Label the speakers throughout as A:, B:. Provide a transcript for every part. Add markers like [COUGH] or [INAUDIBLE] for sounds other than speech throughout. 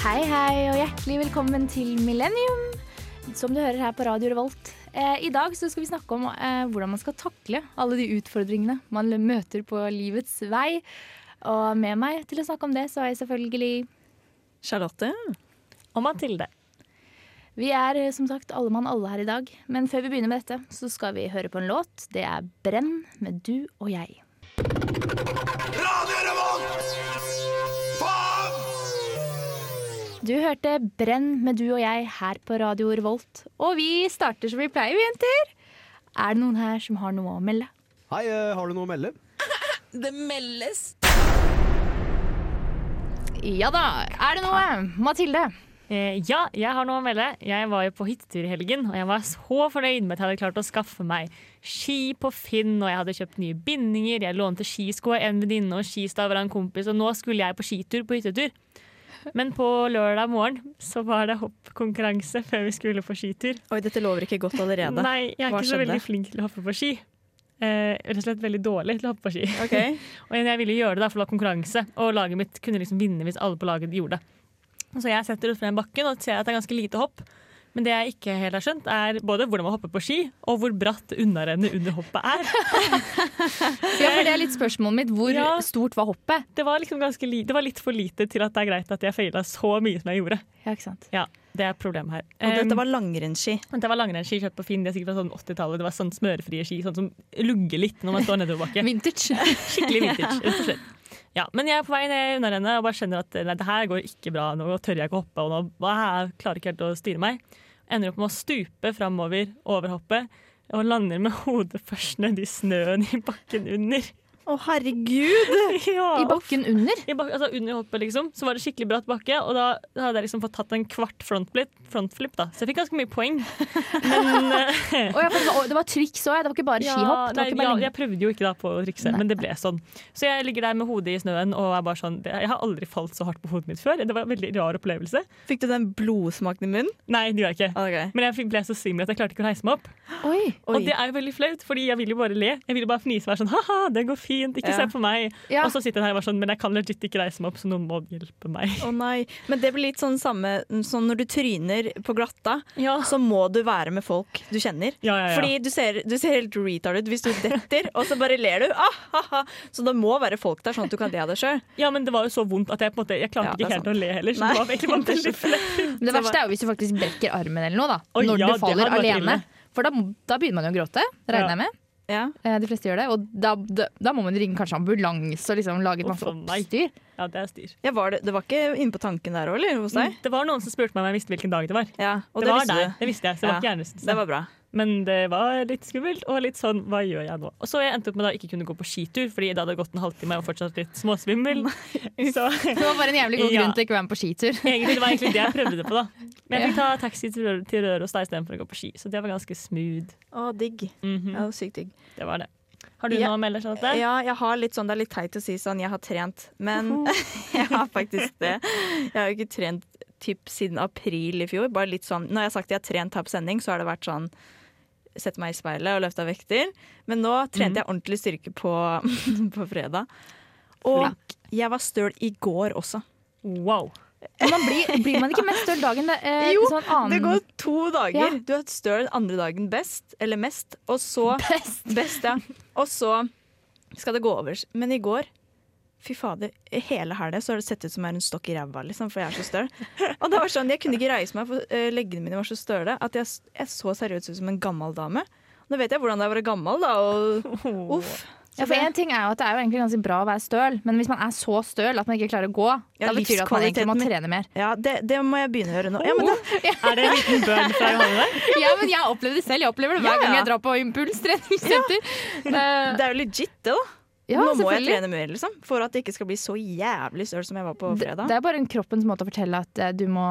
A: Hei, hei, og hjertelig velkommen til Millennium, som du hører her på Radio Revolt. Eh, I dag så skal vi snakke om eh, hvordan man skal takle alle de utfordringene man l- møter på livets vei. Og med meg til å snakke om det, så er jeg selvfølgelig
B: Charlotte og Mathilde.
A: Vi er eh, som sagt alle mann alle her i dag, men før vi begynner med dette, så skal vi høre på en låt. Det er 'Brenn' med du og jeg.
C: Radio Revolt! Faen!
A: Du hørte 'Brenn' med du og jeg her på Radio Revolt. Og vi starter som vi pleier, vi jenter. Er det noen her som har noe å melde?
D: Hei, eh, har du noe å melde?
B: Det meldes.
A: Ja da, er det noe? Mathilde.
B: Eh, ja, jeg har noe å melde. Jeg var jo på hyttetur i helgen, og jeg var så fornøyd med at jeg hadde klart å skaffe meg ski på Finn, og jeg hadde kjøpt nye bindinger, jeg lånte skisko av en venninne og skistaver av en kompis, og nå skulle jeg på skitur på hyttetur. Men på lørdag morgen så var det hoppkonkurranse før vi skulle på skitur.
E: Oi, dette lover ikke godt allerede.
B: Nei, jeg er
E: Hva
B: ikke så
E: skjedde?
B: veldig flink til å hoppe på ski. Eh, rett og slett veldig dårlig til å hoppe på ski. [LAUGHS]
E: Ok.
B: Og jeg ville gjøre det, da, for det var konkurranse. Og laget mitt kunne liksom vinne hvis alle på laget gjorde det. Og Så jeg setter utfor den bakken og ser at det er ganske lite hopp. Men det jeg ikke helt har skjønt, er både hvordan man hopper på ski, og hvor bratt unnarennet under hoppet er.
A: Ja, for det er litt spørsmålet mitt. Hvor
B: Ja.
A: stort var hoppet?
B: [LAUGHS] Det var, liksom ganske li det var litt for lite til at det er greit at jeg feila så mye som jeg gjorde.
A: Ja, ikke sant?
B: Ja, Det er problemet her.
E: Og dette
B: Um,
E: var langrennsski.
B: men det var langrennsski kjøpt på Finn, det er sikkert fra sånn 80-tallet. Det var sånn smørefrie ski, sånn som lugger litt når man står nedoverbakke.
A: Vintage.
B: Skikkelig vintage, rett og slett. Ja, men jeg er på vei ned under henne og bare skjønner at nei, det her går ikke bra. Nå tør jeg ikke å hoppe, og nå jeg klarer jeg ikke helt å styre meg. Ender opp med å stupe framover over hoppet og lander med hodet først ned i snøen i bakken under.
E: Å, herregud!
B: Ja,
A: [LAUGHS] I bakken under?
B: i bak, altså under hoppet liksom, så var det skikkelig bratt bakke, og da hadde jeg liksom fått tatt en kvart frontflip, frontflip da. så jeg fikk ganske mye poeng. Men eh,
A: Å, ja, for det, var, det var triks òg, det var ikke bare
B: Ja,
A: skihopp. Det
B: nei,
A: var ikke bare
B: ja,
A: lenge.
B: jeg prøvde jo ikke da på å trikse,
A: Nei.
B: men det ble sånn. Så jeg ligger der med hodet i snøen og er bare sånn Jeg har aldri falt så hardt på hodet mitt før. Det var en veldig rar opplevelse.
E: Fikk du den blodsmaken i munnen?
B: Nei, det gjorde jeg ikke.
E: Ok.
B: Men jeg fikk- ble så svimmel at jeg klarte ikke å reise meg opp.
A: Oi.
E: Oi.
B: Og det er jo veldig flaut, fordi jeg vil jo bare le. Jeg vil jo bare fnise og være sånn ha-ha, det går fint, ikke
E: Ja.
B: se på meg.
A: Ja.
B: Og så sitter jeg her og bare sånn, men jeg kan legit ikke reise meg opp, så noen må hjelpe meg.
E: Å nei. Men det blir litt sånn samme som når du tryner på glatta,
B: Ja.
E: så må du være med folk du kjenner.
B: Ja, ja, ja.
E: Fordi du ser, du ser helt retard ut hvis du detter, og så bare ler du. Ah, ha, ha. Så det må være folk der, sånn at du kan le av deg sjøl.
B: Ja, men det var jo så vondt at jeg på en måte Jeg klarte
E: Ja, det
B: ikke
E: er
B: helt
E: sant.
B: å le heller, så
E: Nei.
B: det var egentlig
E: [LAUGHS]
B: bare veldig flaut.
A: Men det verste er jo hvis du faktisk brekker armen eller noe, da.
B: Oi,
A: når
B: ja, det
A: du faller
B: hadde vært
A: alene.
B: ille.
A: For da, da begynner man jo å gråte,
B: Ja.
A: regner jeg med.
E: Ja.
A: Eh, De fleste gjør det. Og da, da, da må man ringe kanskje ambulanse og liksom lage et masse
B: Uff, nei.
A: oppstyr.
B: [LAUGHS] Ja, det er styr.
E: Ja, var det, det var ikke inne på tanken der òg, eller? Hos deg?
B: Det var noen som spurte meg om jeg visste hvilken dag det var.
E: Ja, og
B: Mm. det,
E: det,
B: var
E: visste
B: der,
E: du.
B: det visste jeg. Så det var
E: Ja,
B: ikke hjernerystelse.
E: Det var bra.
B: Men det var litt skummelt og litt sånn hva gjør jeg nå? Og så jeg endte opp med da ikke kunne gå på skitur, fordi det hadde gått en halvtime og jeg var fortsatt litt småsvimmel. [LAUGHS] Så
A: Det var bare en jævlig god
B: Ja.
A: grunn til ikke å være med på skitur.
B: egentlig, det var egentlig det jeg prøvde på, da. Men jeg fikk ta taxi til Rø- til Røros da istedenfor å gå på ski, så det var ganske smooth.
E: Å, digg.
B: Mhm,
E: Ja, det var sykt digg.
B: Det var det. Har du
E: Ja.
B: noe å melde, Charlotte?
E: Ja, jeg har litt sånn, det er litt teit å si sånn, jeg har trent, men [LAUGHS] jeg har faktisk det. Jeg har jo ikke trent typ siden april i fjor, bare litt sånn, når jeg har sagt jeg har trent her på sending, så har det vært sånn, sett meg i speilet og løftet vekter, men nå trente jeg ordentlig styrke på, [LAUGHS] på fredag. Og jeg var støl i går også.
B: Wow.
A: Men man blir, blir man ikke mest støl dagen eh, [LAUGHS]
E: Jo,
A: sånn annen
E: Det går to dager.
A: Ja.
E: Du har støl den andre dagen best, eller mest, og så...
A: Best.
E: Best, ja. Og så skal det gå over. Men i går Fy fader, hele helga så har det sett ut som jeg er en stokk i ræva, liksom, for jeg er så støl. Og det var sånn, Jeg kunne ikke reise meg, for eh, leggene mine var så støle at jeg, s- jeg så seriøst ut som en gammel dame. Nå vet jeg hvordan det er å være gammel, da. Og, uff.
A: [LAUGHS] Ja, for en ting er jo at Det er jo egentlig ganske bra å være støl, men hvis man er så støl at man ikke klarer å gå,
E: Ja,
A: da betyr det at man egentlig må
E: livskvaliteten min.
A: trene mer.
E: Ja, det, det må jeg begynne å gjøre nå. Ja, men da,
B: Er det en liten bønn fra Johanne der?
A: Ja, men Jeg opplever det selv. Jeg opplever det hver
E: Ja, ja.
A: gang jeg drar på impulstreningssenter. Eh,
E: det er jo legit, [LAUGHS] det, da.
A: Ja,
E: nå må jeg
A: selvfølgelig.
E: trene mer, liksom. For at det ikke skal bli så jævlig støl som jeg var på
A: Det det
E: fredag.
A: er bare en kroppens måte å fortelle at eh, du må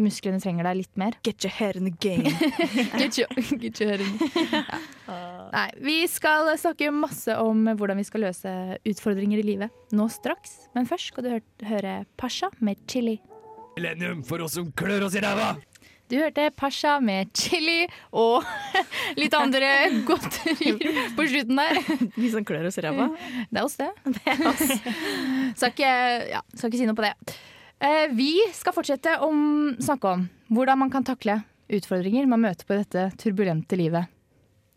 A: musklene trenger deg litt mer.
E: Get your hair in the game.
A: [LAUGHS] Get your, get your head in.
E: [LAUGHS]
A: ja. Nei, vi skal snakke masse om hvordan vi skal løse utfordringer i livet nå straks. Men først skal du hør- høre Pasha med 'Chili'.
D: Millennium for oss som klør oss i ræva!
A: Du hørte Pasha med chili og [LAUGHS] litt andre godterier på slutten der.
E: Vi som
A: [LAUGHS]
E: klør oss i ræva.
A: Det er oss, det. Skal, ikke, ja, skal ikke si noe på det. Eh, Vi skal fortsette å snakke om hvordan man kan takle utfordringer man møter på dette turbulente livet.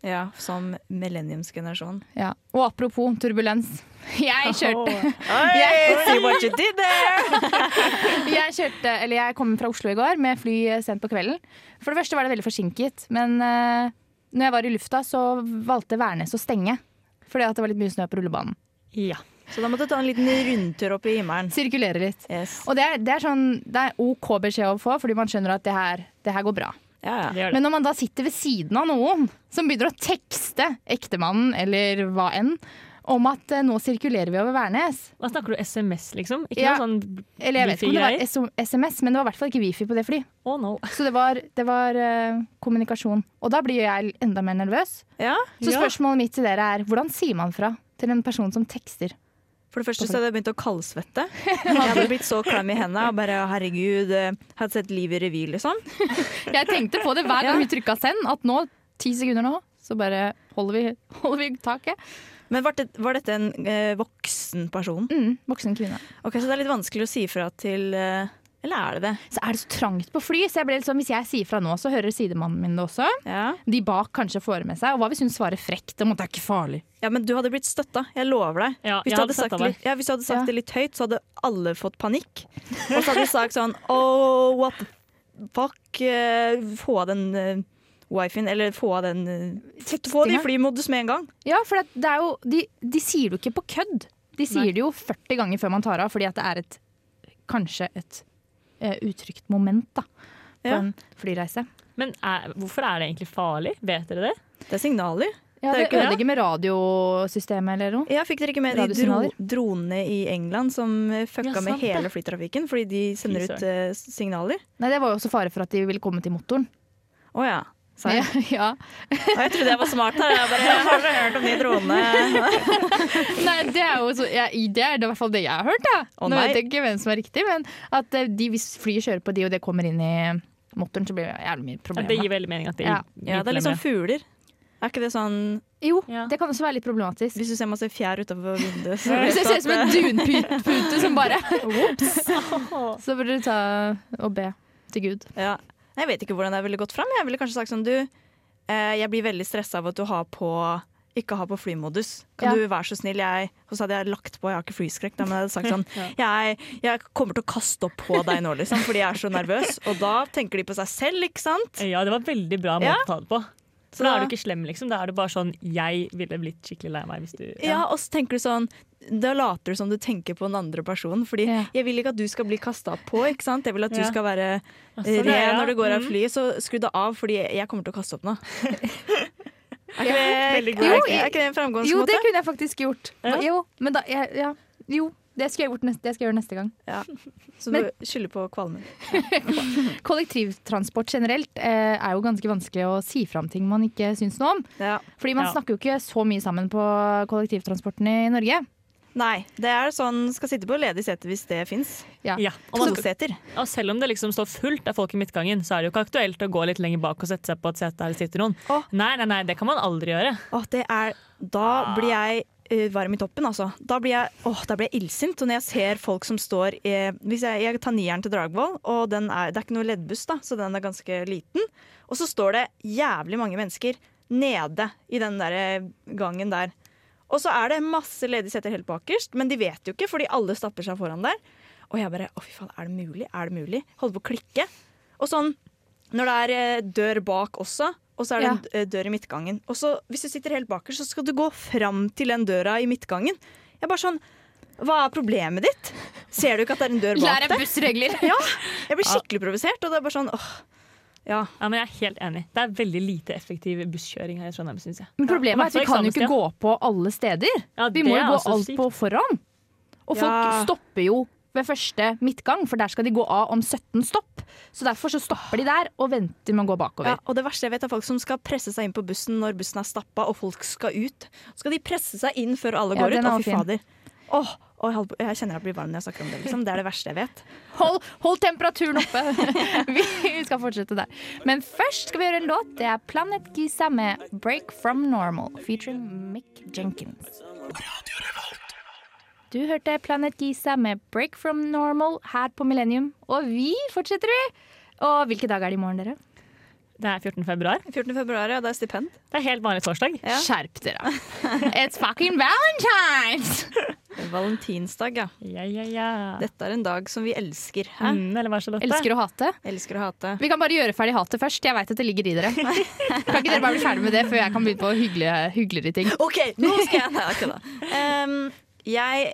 E: Ja, som millenniumsgenerasjon.
A: Ja. Og apropos turbulens. [LAUGHS] Jeg kjørte,
E: Hey, see what you did there!
A: [LAUGHS] jeg kjørte Eller jeg kom fra Oslo i går med fly sent på kvelden. For det første var det veldig forsinket, men eh, når jeg var i lufta, så valgte Værnes å stenge. Fordi at det var litt mye snø på rullebanen.
B: Ja.
E: Så da måtte du ta en liten rundtur opp i himmelen.
A: Sirkulere litt.
E: Yes.
A: Og det er, det, er sånn, det er OK beskjed å få, fordi man skjønner at det her, det her går bra.
E: Ja, ja.
B: Det gjør
A: [LAUGHS]
B: det.
A: Men når man da sitter ved siden av noen som begynner å tekste ektemannen eller hva enn, om at eh, nå sirkulerer vi over Værnes
B: Hva snakker du SMS, liksom? Ikke
A: Ja.
B: noe sånn
A: Eller jeg vet ikke om det var
B: Wifi-greier?
A: SO SMS, men det var i hvert fall ikke wifi på det fly.
B: Oh no.
A: Så det var, det var eh, kommunikasjon. Og da blir jo jeg enda mer nervøs.
E: ja.
A: Så
B: Ja.
A: spørsmålet mitt til dere er hvordan sier man fra til en person som tekster?
E: For det første så hadde jeg begynt å kaldsvette. Jeg hadde blitt så klam i hendene og bare herregud, eh, hadde sett livet i revy, liksom.
A: Jeg tenkte på [LAUGHS] det hver gang vi trykka send, at nå, ti sekunder nå, så bare holder vi, [LAUGHS] holder vi taket.
E: Men var, det, var dette en eh, voksen person?
A: Mm, voksen kvinne.
E: Ok, Så det er litt vanskelig å si fra til eh, Eller er det det?
A: Så er det så trangt på fly, så jeg ble litt sånn, hvis jeg sier fra nå, så hører sidemannen min det også.
E: Ja.
A: De bak kanskje får med seg. Og hva hvis hun svarer frekt om at det er ikke farlig?
E: ja, men du hadde blitt støtta. Jeg lover deg.
B: Ja,
E: hvis,
B: jeg
E: du
B: hadde
E: hadde sagt,
B: støttet deg.
E: litt- ja, hvis du hadde sagt
A: Ja.
E: det litt høyt, så hadde alle fått panikk. Og så hadde du sagt [LAUGHS] sånn Oh, what the fuck? eh, få av den uh, wifien, eller få av den eh, Få det i
A: Tekstinga.
E: flymodus med en gang.
A: Ja, for det det er jo, de, de sier det jo ikke på kødd. De sier
B: Nei.
A: det jo 40 ganger før man tar av, fordi at det er et, kanskje et eh, utrygt moment da, på
E: Ja.
A: en flyreise.
B: Men er, hvorfor er det egentlig farlig? Vet dere det?
E: Det er signaler.
A: Ja,
E: Det er
A: det,
E: jo ikke-
A: ødelegger med radiosystemet eller noe.
E: Ja, fikk dere ikke med de dro
A: Radiosignaler.
E: dronene i England som eh, fucka
B: Ja, sant
E: med hele
B: det.
E: flytrafikken fordi de sender
B: Fy
E: ut eh, s- signaler?
A: Nei, det var jo også fare for at de ville komme til motoren.
E: Å ja. Sa jeg.
A: [LAUGHS] ja.
E: Å, jeg trodde jeg var smart her. Jeg bare, [LAUGHS] har dere hørt om de dronene? [LAUGHS]
A: Nei, det er jo så, ja, i- det er i hvert fall det jeg har hørt. Da.
E: Å,
A: Nå
E: nei.
A: vet jeg ikke hvem som er riktig, men at eh, de, hvis flyet kjører på de, og det kommer inn i motoren, så blir det jævlig mye
B: Ja,
A: problemer.
B: Det gir veldig mening at det
A: Ja.
E: Ja, det er litt sånn fugler. Er ikke det sånn
A: Jo,
B: Ja.
A: det kan også være litt problematisk.
E: Hvis du ser masse fjær utover
A: [LAUGHS]
E: vinduet så
A: Hvis jeg
E: vet du
A: ser
E: at,
A: ut som en dunpute som
E: [LAUGHS]
A: bare Så burde du ta og be til Gud.
E: eh, ja. Jeg vet ikke hvordan jeg ville gått fram. Jeg ville kanskje sagt sånn Du, eh, jeg blir veldig stressa av at du har på ikke har på flymodus. Kan
A: Ja.
E: du være så snill? Jeg, og så hadde jeg lagt på, jeg har ikke flyskrekk, da, men jeg hadde sagt sånn
A: [LAUGHS]
E: jeg, jeg kommer til å kaste opp på deg nå, liksom, fordi jeg er så nervøs. Og da tenker de på seg selv, ikke sant?
B: Ja, det var veldig bra måte
E: Ja.
B: å ta det på.
E: Så-
B: For da er du ikke slem, liksom. Da er det bare sånn Jeg ville blitt skikkelig lei meg hvis du
E: Ja, og så tenker du sånn da later du som du tenker på den andre personen. Fordi
A: Ja.
E: jeg vil ikke at du skal bli kasta på. ikke sant? Jeg vil at du
B: Ja.
E: skal være
B: sånn
E: ren
B: er det, ja.
E: når du går av flyet. Så skru deg av, fordi jeg kommer til å kaste opp
B: [LAUGHS]
E: nå. Er ikke det,
B: Veldig god.
E: er ikke, er ikke det en sånn
A: Jo, det
E: framgangsmåte?
A: kunne jeg faktisk gjort.
B: Ja.
A: Jo, men da, jeg, ja, jo, det skal jeg, gjort neste, det skal jeg gjøre neste gang.
B: [LAUGHS]
E: Så
A: Men-
E: du skylder på kvalmen.
A: Kollektivtransport generelt eh, er jo ganske vanskelig å si fra om ting man ikke syns noe om.
E: Ja.
A: Fordi man
B: Ja.
A: snakker jo ikke så mye sammen på kollektivtransporten i Norge.
E: Nei, det er sånn skal sitte på ledig sete hvis det fins.
A: Ja.
B: Ja.
E: Og vannseter.
B: Og selv om det liksom står fullt av folk i midtgangen, så er det jo ikke aktuelt å gå litt lenger bak og sette seg på et sete der det sitter noen.
E: Å.
B: Nei, nei, nei, det kan man aldri gjøre.
E: Åh, det er, da blir jeg eh, varm i toppen, altså. Da blir jeg, åh, da blir jeg illsint. Og når jeg ser folk som står i hvis jeg, jeg tar nieren til Dragvoll, og den er, det er ikke noe leddbuss, da, så den er ganske liten. Og så står det jævlig mange mennesker nede i den der eh, gangen der. Og så er det masse ledige seter helt bakerst, men de vet jo ikke, fordi alle stapper seg foran der. Og jeg bare Å, fy faen, er det mulig? Er det mulig? Holder på å klikke. Og sånn når det er eh, dør bak også, og så er det
A: Ja.
E: en eh, dør i midtgangen. Og så hvis du sitter helt bakerst, så skal du gå fram til den døra i midtgangen. Jeg er bare sånn Hva er problemet ditt? Ser du ikke at det er en
A: [LAUGHS]
E: dør bak deg? [LAUGHS]
A: bussregler! [LAUGHS]
E: Ja, jeg blir skikkelig provosert, og det er bare sånn åh. Ja.
B: Ja, men jeg er helt enig. Det er veldig lite effektiv busskjøring her i Trondheim, syns jeg.
A: Men problemet er at vi kan jo ikke gå på alle steder.
B: Ja,
A: Vi
B: det
A: må
B: er
A: jo gå
B: altså
A: alt
B: sykt.
A: på forhånd. Og folk
E: Ja.
A: stopper jo ved første midtgang, for der skal de gå av om 17 stopp. Så derfor så stopper de der og venter med å gå
E: ja.
A: bakover.
E: Og det verste jeg vet, er folk som skal presse seg inn på bussen når bussen er stappa og folk skal ut. Så skal de presse seg inn før alle
A: Ja,
E: går
A: den er
E: ut. Å,
A: også
E: fy
A: fin.
E: fader. Åh, åh, jeg holder på- jeg kjenner jeg blir varm når jeg snakker om det. Liksom. Det er det verste jeg [LAUGHS] vet.
A: Hold, hold temperaturen oppe! vi skal fortsette der. Men først skal vi gjøre en låt. Det er Planet Giza med 'Break From Normal' featuring Mick Jenkins. Du hørte Planet Giza med 'Break from Normal' her på Millennium. Og vi fortsetter, vi! Og hvilke dager er det i morgen, dere?
B: Det er 14. februar.
E: 14. februar, ja. Det er stipend.
B: Det er helt vanlig torsdag.
E: Ja.
A: Skjerp dere! It's fucking valentines!
E: Valentinsdag, ja.
B: Ja, ja, ja.
E: Dette er en dag som vi elsker. Hæ?
B: Mm, eller hva, Charlotte?
A: Elsker å hate.
E: Elsker å hate.
A: Vi kan bare gjøre ferdig hatet først. Jeg veit at det ligger i dere. Kan ikke dere bare bli ferdig med det før jeg kan begynne på hyggelige, hyggeligere ting?
E: OK, nå skal jeg Nei, ikke da. Em, jeg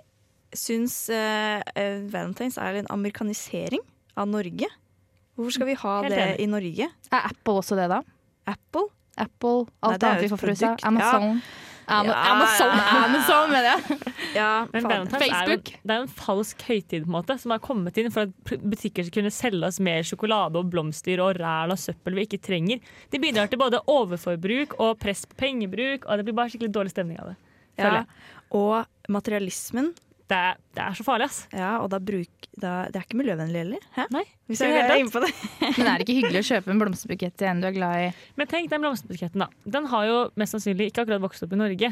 E: syns eh, eh, Valentine's er en amerikanisering av Norge. Hvorfor skal vi ha
B: Helt
E: det
B: enig.
E: i Norge?
A: Er Apple også det, da?
E: Apple?
A: Apple,
E: Nei,
A: alt
E: det er
A: annet
E: jo
A: vi
E: et
A: får fra USA.
E: produkt.
A: Amazon. Ama-
E: Ja,
A: Amazon,
E: ja, ja.
A: Amazon, mener
E: [LAUGHS]
A: jeg.
E: Ja,
B: Men
E: faen.
B: Valentine's er jo,
A: Facebook.
B: det er jo en falsk høytid på en måte, som har kommet inn for at pr- butikker skal kunne selge oss mer sjokolade og blomster og ræl og søppel vi ikke trenger. De bidrar til både overforbruk og press på pengebruk, og det blir bare skikkelig dårlig stemning av det. føler
E: ja.
B: jeg.
E: Og materialismen.
B: Det er, det er så farlig, ass.
E: Ja, og da bruk, da, det er ikke miljøvennlig heller. Hæ?
B: Nei,
E: Hvis
B: ikke
E: jeg
B: i det
E: er
B: hele
E: inne på det.
A: Men er det ikke hyggelig å kjøpe en blomsterbukett til en du er glad i?
B: Men tenk den blomsterbuketten, da. Den har jo mest sannsynlig ikke akkurat vokst opp i Norge.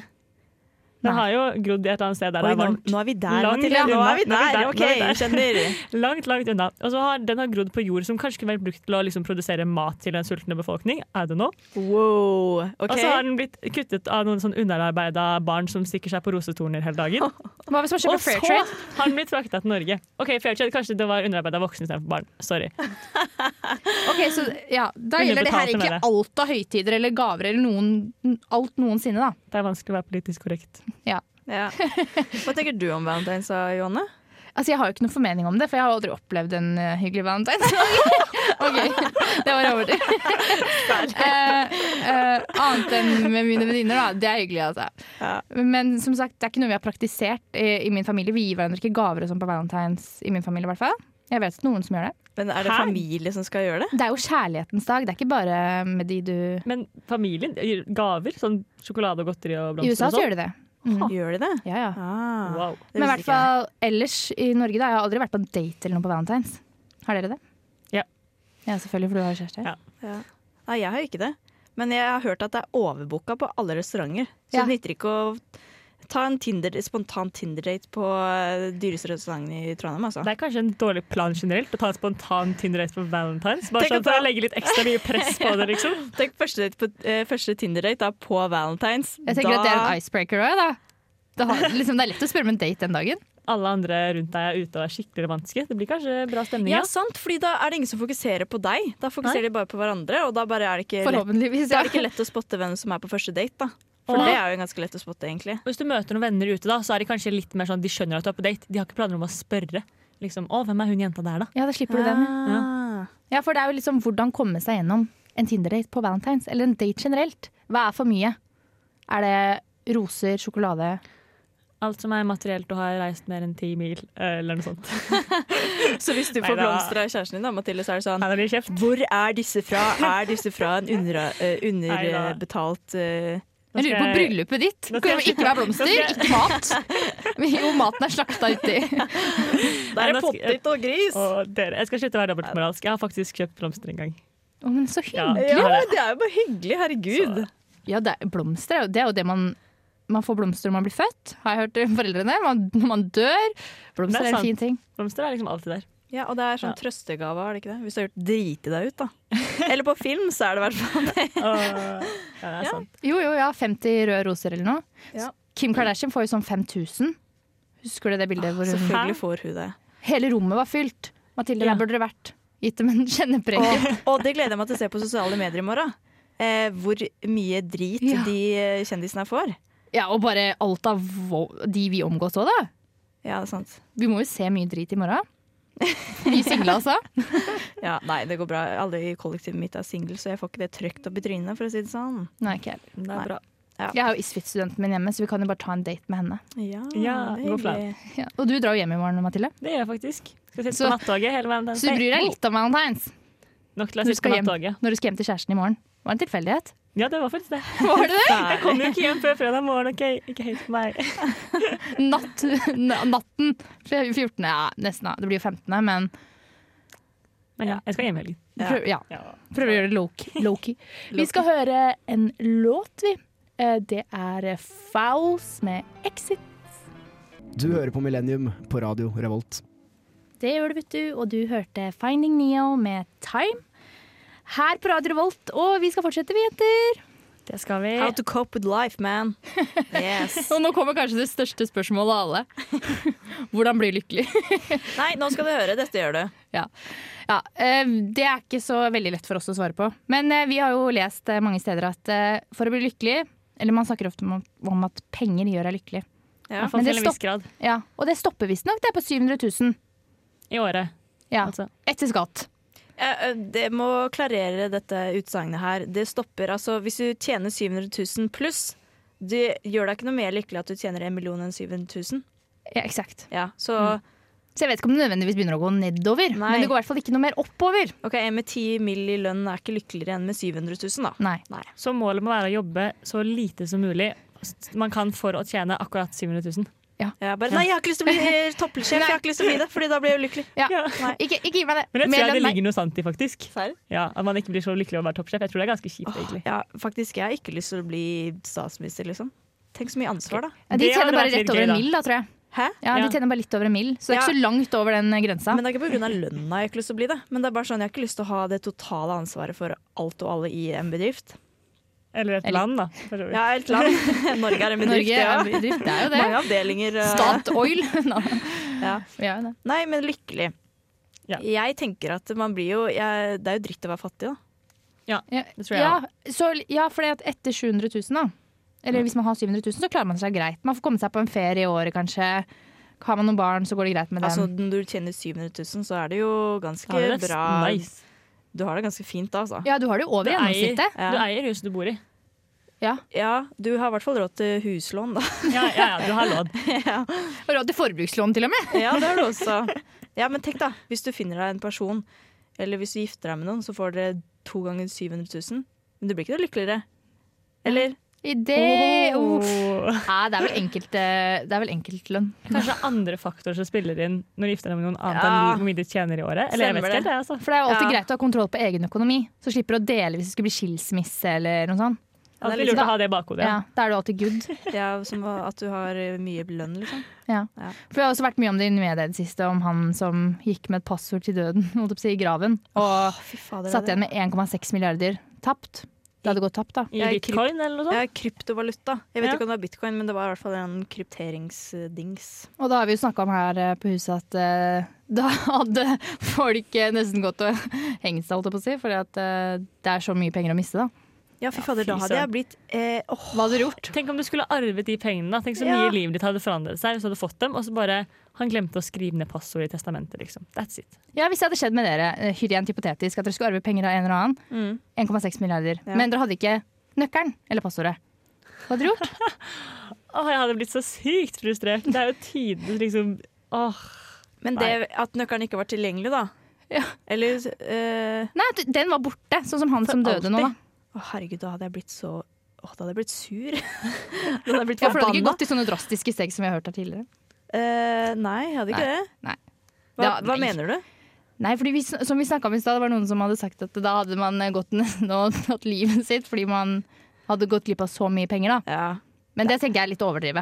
B: Den
A: Nei.
B: har jo grodd i et eller annet sted der
E: Oi,
B: det er
E: nå,
B: varmt.
E: nå er vi der,
B: Langt
E: Mathilde. Nå er vi
B: unna. Nå er vi
E: der,
B: der,
E: OK,
B: nå er vi der.
E: kjenner.
B: Langt, langt unna. Og så har den har grodd på jord som kanskje kunne vært brukt til å liksom produsere mat til en sultende befolkning. Er det nå?
E: Wow. OK.
B: Og så har den blitt kuttet av noen sånn underarbeida barn som stikker seg på rosetorner hele dagen.
A: Hva hvis man
B: Og
A: kjøper
B: så
A: fair
B: har
A: trade?
B: den blitt frakta til Norge. OK, fair trade, kanskje det var underarbeida voksne istedenfor barn. Sorry.
A: Ok, så ja, Da gjelder det her
B: Underbetalte, mener
A: egentlig
B: jeg.
A: alt av høytider eller gaver eller noen, alt noensinne, da.
B: Det er vanskelig å være politisk korrekt.
E: Ja. Hva tenker du om Valentine's, da, Johanne?
A: Altså, Jeg har jo ikke noen formening om det, for jeg har aldri opplevd en eh, hyggelig
E: [LAUGHS]
A: valentine. ok, det var over til. [LAUGHS] Eh, eh, annet enn med mine venninner, da. Det er hyggelig, altså.
E: Ja.
A: Men som sagt, det er ikke noe vi har praktisert i, i min familie. Vi gir hverandre ikke gaver og sånn på valentines i min familie, i hvert fall. Jeg vet noen som gjør det.
E: Men er det
B: Hæ?
E: familie som skal gjøre det?
A: Det er jo kjærlighetens dag, det er ikke bare med de du
B: Men familien gir gaver, sånn sjokolade og godteri og
A: I USA
B: blomster og
A: så
B: sånn.
A: gjør de det. Mm.
E: Gjør de det?
A: Ja, ja.
E: Ah,
B: Wow.
E: det
A: Men i
E: visste
A: hvert
E: ikke jeg.
A: fall ellers i Norge, da. Jeg har aldri vært på date eller noe på Valentine's. Har dere det?
B: Ja.
A: Ja, selvfølgelig, for du har kjæreste.
B: Ja.
E: Nei, jeg har jo ikke det. Men jeg har hørt at det er overbooka på alle restauranter. Så
A: Ja.
E: det nytter ikke å ta en Tinder, spontan Tinder-date på eh, dyreste restauranten i Trondheim, altså.
B: Det er kanskje en dårlig plan generelt å ta en spontan Tinder-date på Valentine's. Bare
E: Tenk
B: sånn
E: å
B: for
E: ta-
B: å legge litt ekstra mye press på
A: [LAUGHS]
B: det, liksom.
E: Tenk første, date på, eh, første Tinder-date da på Valentine's.
A: Jeg tenker
E: da,
A: at det er en icebreaker òg, da. Det, har, liksom, det er lett å spørre om en date den dagen.
B: Alle andre rundt deg er ute og er skikkelig romantiske. Det blir kanskje bra stemning.
E: ja,
B: ass.
E: sant, fordi da er det ingen som fokuserer på deg. Da fokuserer de bare på hverandre, og da bare er det ikke lett,
A: Forhåpentligvis.
E: da
A: Ja.
E: er det ikke lett å spotte hvem som er på første date, da. For
B: Nei.
E: det er jo ganske lett å spotte, egentlig.
B: Og Hvis du møter noen venner ute, da, så er de kanskje litt mer sånn, de skjønner at du er på date. De har ikke planer om å spørre. Liksom, å, hvem er hun jenta der da?
A: ja, da slipper du den.
B: Ah.
E: Ah.
A: Ja, for det er jo liksom hvordan komme seg gjennom en Tinder-date på Valentine's, eller en date generelt. Hva er for mye? Er det roser, sjokolade
B: Alt som er materielt og har reist mer enn ti mil, eh, eller noe sånt.
E: Så hvis du
B: Nei,
E: får
B: da-
E: blomster av kjæresten din, da, Mathilde, så er det sånn
B: Nei, det blir kjeft.
E: Hvor er disse fra? Er disse fra en under, eh, underbetalt eh,
A: Jeg lurer på
B: skal jeg-
A: bryllupet ditt.
B: Nå skal
A: Kan det
B: jeg-
A: ikke være blomster,
B: Nå
A: ikke mat. Jo, maten er slakta uti.
E: Der er
B: nå skal-
E: potet og gris!
B: Og dere, jeg skal slutte å være dobbeltmoralsk. Jeg har faktisk kjøpt blomster en gang.
A: Å, men så
B: Ja.
A: hyggelig.
E: Ja, men det er jo bare hyggelig. Herregud.
A: Ja, det er, blomster er jo det, er jo det man man får blomster når man blir født, har jeg hørt eh, foreldrene. Man, når man dør. Blomster
B: Det er
A: er en fin ting.
B: Blomster er liksom [LAUGHS] alltid der.
E: Ja, Og det er sånn trøstegave, er det ikke det? Hvis du har gjort driti deg ut, da. Eller på film, så er det i hvert fall det.
B: Og, ja, det er sant.
A: Jo, jo, ja. 50 røde roser eller noe.
E: Ja.
A: Kim Kardashian får jo sånn 5000. Husker du det bildet hvor hun
E: Selvfølgelig får hun det.
A: Hele rommet var fylt. Mathilde,
B: Ja.
A: der burde det vært. Gitt dem en [LAUGHS] kjenneprenge.
E: Og, og det gleder jeg meg til å se på sosiale medier i morgen. Eh, hvor mye drit
A: Ja.
E: de eh, kjendisene får.
A: Ja, og bare alt av vo- de vi omgås òg, da.
E: Ja, det er sant.
A: Vi må jo se mye drit i morgen. Vi single, altså.
E: Ja, nei, det går bra. Alle i kollektivet mitt er single, så jeg får ikke det trøkt opp i trynet, for å si det sånn.
A: Nei, ikke jeg.
B: Det
E: Nei.
B: er bra.
A: Jeg har jo isfit-studenten min hjemme, så vi kan jo bare ta en date med henne.
E: Ja,
B: Ja,
E: det er
B: gå for det.
E: hyggelig.
A: Ja. Og du drar jo hjem i morgen, Mathilde.
B: Det gjør jeg faktisk. Skal sitte
A: Så-
B: på nattoget hele veien.
A: Så du bryr deg litt om valentines
B: Nok til å
A: når du
B: sitte
A: skal
B: på
A: hjem,
B: nattoget.
A: når du skal hjem til kjæresten i morgen. Var det en tilfeldighet?
B: Ja, det var faktisk det.
A: [LAUGHS] Var det det?
B: Jeg kom jo ikke hjem før fredag morgen, OK? Ikke helt på meg.
A: Natt, na- natten. 14. Ja, nesten. da. Det blir jo 15., men
B: Men ja, jeg skal hjem i helgen.
A: prøv, ja.
B: Ja.
A: Prøver å gjøre det low-key. Vi skal høre en låt, vi. Eh, Det er Fowls med 'Exit'.
D: Du hører på Millennium på radio Revolt.
F: Det gjør det, vet du. Og du hørte Finding Neo med Time. Her på Radio Revolt, og vi skal fortsette, vi jenter.
B: Det skal vi.
E: How to cope with life, man. Yes.
A: Og nå kommer kanskje det største spørsmålet av
B: [LAUGHS]
A: alle. Hvordan bli lykkelig?
E: Nei, nå skal du høre. Dette gjør du.
A: Ja, eh, Det er ikke så veldig lett for oss å svare på. Men eh, vi har jo lest eh, mange steder at eh, for å bli lykkelig Eller man snakker ofte om, om at penger gjør deg lykkelig.
B: I hvert
F: Men
B: fall
F: det
B: til en viss grad.
A: Ja, Og det stopper visstnok det er på 700 000.
B: I året.
A: Ja,
B: Altså.
A: Etter skatt.
E: Eh, eh, Det må klarere dette utsagnet her. Det stopper altså Hvis du tjener 700 000 pluss, det gjør deg ikke noe mer lykkelig at du tjener en million enn 700 000.
A: Ja, eksakt.
E: Ja, så
A: Så jeg vet ikke om det nødvendigvis begynner å gå nedover.
E: Nei.
A: Men det går i hvert fall ikke noe mer oppover.
E: OK, en med 10 mill. i lønn er ikke lykkeligere enn med 700 000, da.
A: Nei.
B: Så målet må være å jobbe så lite som mulig man kan for å tjene akkurat 700 000.
E: Jeg bare, Nei, jeg har ikke lyst til å bli [LAUGHS] eh, toppsjef, jeg har ikke lyst til å bli det, Fordi da blir jeg ulykkelig.
A: Ja.
E: Nei.
A: Ikke, ikke gi meg det.
B: Men jeg
A: Mer
B: tror
A: lønn,
B: det
A: nei.
B: ligger noe sant i, faktisk.
E: Serr?
B: Ja, At man ikke blir så lykkelig av å være toppsjef. Jeg tror det er ganske kjipt, egentlig.
E: Ja, faktisk, jeg har ikke lyst til å bli statsminister, liksom. Tenk så mye ansvar, da.
A: Ja, de
B: Det hadde
A: tjener bare
B: vært litt
A: rett over en
B: gøy, da.
A: mill, da, tror jeg.
E: Hæ?
A: Ja,
B: Ja.
A: De tjener bare litt over en mill, så det er
E: Ja.
A: ikke så langt over den eh, grensa.
E: Men det er ikke pga. lønna jeg har ikke lyst til å bli det. Men det er bare sånn, jeg har ikke lyst til å ha det totale ansvaret for alt og alle i en bedrift.
B: Eller et
A: Eller-
B: land, da. for så vidt.
E: Ja, helt klart. Norge er en bedrift,
A: Norge er en
E: ja.
A: bedrift, det er jo det.
E: Mange avdelinger. eh,
A: Statoil.
B: [LAUGHS]
A: Nei,
E: Ja.
A: vi er jo det.
E: Nei, men lykkelig.
B: Ja.
E: Jeg tenker at man blir jo jeg, Det er jo dritt å være fattig, da.
A: Ja,
B: Det tror jeg
A: ja, så, ja for at etter 700 000, da. Eller hvis man har 700 000, så klarer man seg greit. Man får komme seg på en ferie i året, kanskje. Har man noen barn, så går det greit med dem.
E: Altså, Når du tjener 700 000, så er det jo ganske
B: Ja, det er
E: bra.
B: nice.
E: Du har det ganske fint da, altså.
A: ja, du har det jo
B: Du
A: over
B: eier,
A: gjennomsnittet.
E: Ja.
B: du eier huset du bor i.
E: Ja, du har i hvert fall råd til
A: [LAUGHS]
E: huslån, da.
B: Ja, ja, ja du har
E: [LAUGHS]
B: lån.
A: Og råd til forbrukslån, til og med.
E: Ja, det har du også. Ja, men tenk da, hvis du finner deg en person, eller hvis du gifter deg med noen, så får dere to ganger 700 000. Men du blir ikke noe lykkeligere. Eller?
A: I det
B: Åh.
A: Uff. Nei, det er vel enkelt, eh, det er vel enkeltlønn.
B: Kanskje det er andre faktorer som spiller inn når du gifter deg med noen annet
E: Ja.
B: enn hvor mye du tjener i året. Eller jeg vet
E: Stemmer
B: ikke helt, det, altså.
A: For det er jo alltid
E: Ja.
A: greit å ha kontroll på egen økonomi, så slipper du å dele hvis det skulle bli skilsmisse eller noe sånt.
E: Ja, det er
B: Alltid
E: litt
B: lurt å ha det i bakhodet.
A: Ja, da er du alltid good.
B: [LAUGHS]
E: Ja, som at du har eh, mye lønn, liksom.
A: Ja.
E: Ja.
A: For Det har også vært mye om det i media i det siste, om han som gikk med et passord til døden [LAUGHS] holdt jeg på å si, i graven, og
E: Fy fader.
A: satt
E: det er
A: igjen med 1,6 milliarder tapt. Det hadde gått tapt, da.
B: I
E: Ja, i
B: bitcoin eller noe
E: det.
B: sånt.
E: Ja, kryptovaluta. Jeg vet
B: Ja.
E: ikke om det var bitcoin, men det var i hvert fall en krypteringsdings.
A: Og da har vi jo snakka om her eh, på huset at eh, [LAUGHS] da hadde folk eh, nesten gått og hengt seg, holdt jeg på å si, fordi at eh, det er så mye penger å miste, da.
E: Ja, fy fader,
B: fy
E: da hadde jeg blitt eh, åh,
A: Hva hadde du gjort?
B: Tenk om du skulle arvet de pengene. da. Tenk så mye
E: Ja.
B: livet ditt hadde forandret seg hvis du hadde fått dem, og så bare han glemte å skrive ned passordet i testamentet. liksom. That's it.
A: Ja, Hvis det hadde skjedd med dere, eh, rent hypotetisk, at dere skulle arve penger av en eller annen,
E: Mm.
A: 1,6 milliarder,
E: Ja.
A: men dere hadde ikke nøkkelen eller passordet. Hva hadde dere gjort?
B: Åh, jeg hadde blitt så sykt frustrert. Det er jo tidenes liksom Åh.
E: Men det at nøkkelen ikke var tilgjengelig, da.
A: [LAUGHS] Ja.
E: Eller eh,
A: Nei, at den var borte, sånn som han
E: For
A: som døde nå, da.
E: alltid. Å, herregud, da hadde jeg blitt så Åh, da hadde jeg blitt [LAUGHS] sur. da hadde jeg blitt
A: Ja, for det hadde ikke
E: forbanna.
A: gått i sånne drastiske steg som vi har hørt her tidligere.
E: Eh, nei, jeg hadde ikke det.
A: nei.
E: Hva,
A: Det-
E: hva
A: nei.
E: mener du?
A: Nei, fordi vi, som vi snakka om i stad, det var noen som hadde sagt at da hadde man eh, gått [LAUGHS] nesten og tatt livet sitt fordi man hadde gått glipp av så mye penger, da.
E: Ja.
A: Men det tenker jeg er litt å overdrive.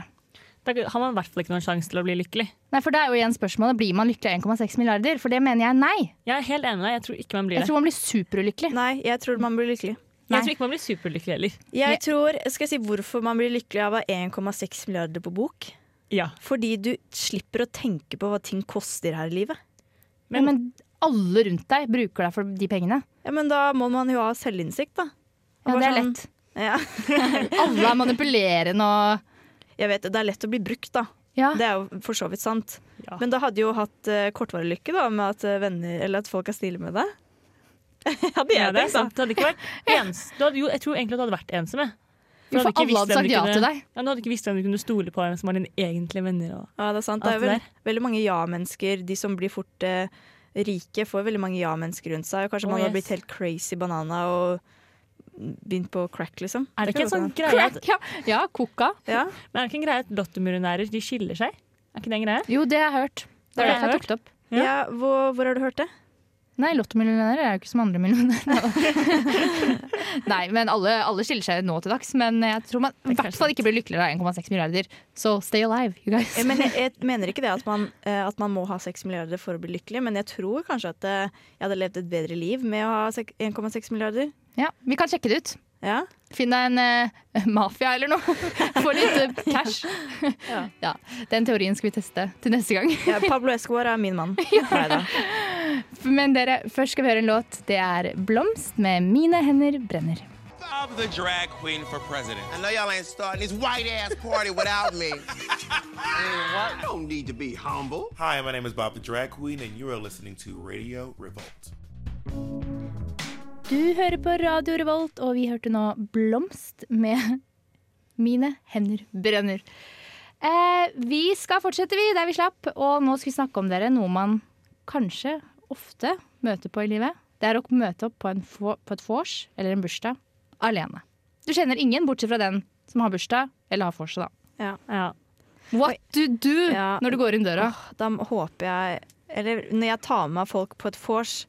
B: Da har man i hvert fall ikke noen sjanse til å bli lykkelig.
A: Nei, for det er jo igjen spørsmålet blir man lykkelig av 1,6 milliarder? For det mener jeg nei.
B: Jeg er helt enig med deg. Jeg tror ikke man blir
A: Jeg
B: det.
A: tror man blir superulykkelig.
E: Nei, jeg tror man blir lykkelig.
A: Nei.
B: Jeg tror ikke man blir superlykkelig heller.
E: Jeg tror, Skal jeg si hvorfor man blir lykkelig av å ha 1,6 milliarder på bok?
B: Ja.
E: Fordi du slipper å tenke på hva ting koster her i livet.
A: Men, men alle rundt deg bruker deg for de pengene.
E: Ja, Men da må man jo ha selvinnsikt, da. Og
A: Ja,
E: bare
A: det er
E: sånn-
A: lett.
E: Ja.
A: Alle er manipulerende og
E: Jeg vet, det, Det er lett å bli brukt, da.
A: Ja.
E: Det er jo for så vidt sant.
B: Ja.
E: Men da hadde jo hatt eh, kortvarig lykke da, med at, eh, venner, eller at folk er snille med deg. [LAUGHS] hadde jeg
B: Ja,
E: tenkt,
B: det er
E: da.
B: sant. Du hadde ikke vært [LAUGHS] ens. Du hadde, jo, jeg tror egentlig at du hadde vært ensomme.
A: Jo, for alle hadde sagt ja til deg.
B: Ja, du hadde ikke visst hvem du kunne stole på, hvem som var dine egentlige venner. Og.
E: Ja, det er sant. Det
B: Alt
E: er
B: det
E: vel, veldig mange ja-mennesker. De som blir fort eh, rike, får veldig mange ja-mennesker rundt seg. Og kanskje
B: Å,
E: man har
B: yes.
E: blitt helt crazy banana og begynt på crack, liksom.
B: Er det ikke en sånn greie at,
A: Crack, ja. ja, koka.
E: Ja.
B: men er det ikke en greie at lottomillionærer de skiller seg? Er ikke det en greie?
A: Jo, det har jeg hørt. Det
B: Det
A: er
B: har
A: derfor jeg
B: jeg
A: tok det opp.
B: Ja.
E: Ja, hvor, hvor har du hørt det?
A: Nei, lottomillionærer er jo ikke som andre millionærer. Nei, men alle, alle skiller seg nå til dags. Men jeg tror man i hvert fall ikke blir lykkeligere av 1,6 milliarder. Så stay alive, you guys.
E: [LAUGHS] Eh, Men jeg, jeg mener ikke det at man, eh, at man må ha 6 milliarder for å bli lykkelig, men jeg tror kanskje at eh, jeg hadde levd et bedre liv med å ha sek- 1,6 milliarder.
A: Ja, vi kan sjekke det ut.
E: Ja.
A: Finn deg en eh, mafia eller noe. [LAUGHS] Få litt eh, cash. Ja.
E: Ja.
A: Den teorien skal vi teste til neste gang.
E: ja Pablo Escobar er min mann. Neida.
A: Men dere, først skal vi høre en låt. Det er 'Blomst' med 'Mine hender brenner'.
G: I'm the drag queen for president. I know y'all ain't starting this white ass [LAUGHS] party without me. Don't need to be humble.
H: Hi, my name is Bob the Drag Queen, and you are listening to Radio Revolt.
F: Du hører på Radio Revolt, og vi hørte nå Blomst med Mine hender brenner.
A: Eh, vi skal fortsette, vi, der vi slapp. Og nå skal vi snakke om dere noe man kanskje ofte møter på i livet. Det er å møte opp på, en få- på et vors eller en bursdag alene. Du kjenner ingen bortsett fra den som har bursdag eller har vors. da.
B: Ja.
A: What do you do
E: Ja.
A: når du går inn døra?
E: Da håper jeg Eller når jeg tar med meg folk på et vors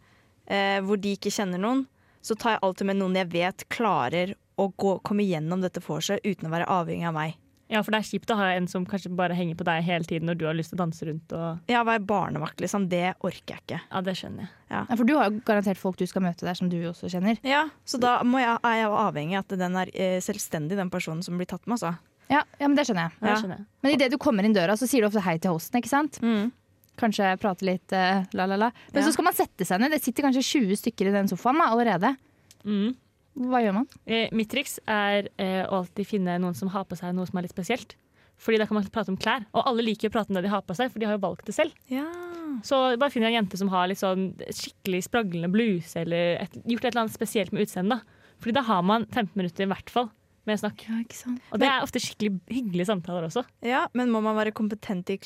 E: eh, hvor de ikke kjenner noen, så tar jeg alltid med noen jeg vet klarer å gå, komme gjennom dette vorset uten å være avhengig av meg.
B: ja, for det er kjipt å ha en som kanskje bare henger på deg hele tiden når du har lyst til å danse rundt. Og,
E: Ja, være barnevakt, liksom. Det orker jeg ikke.
B: ja, det skjønner jeg.
A: Ja, for du har jo garantert folk du skal møte der, som du også kjenner.
E: Ja, Så da må jeg, er jeg jo avhengig av at den er eh, selvstendig, den personen som blir tatt med, altså.
A: Ja, ja men det skjønner jeg.
B: Ja, det
E: Ja.
B: skjønner jeg.
A: Men idet du kommer inn døra, så sier du ofte hei til hosten, ikke sant?
B: Mm.
A: Kanskje prate litt eh, la, la, la. Men
E: Ja.
A: så skal man sette seg ned. Det sitter kanskje 20 stykker i den sofaen da, allerede.
B: Mm.
A: Hva gjør man?
B: Eh, mitt triks er eh, å alltid finne noen som har på seg noe som er litt spesielt. Fordi da kan man prate om klær, og alle liker å prate om det de har på seg, for de har jo valgt det selv.
E: Ja.
B: Så bare finner jeg en jente som har litt sånn skikkelig spraglende bluse, eller et, gjort et eller annet spesielt med utseendet. da. Fordi da har man 15 minutter i hvert fall med snakk. Og det er ofte skikkelig hyggelige samtaler også.
E: ja, Men må man være kompetent i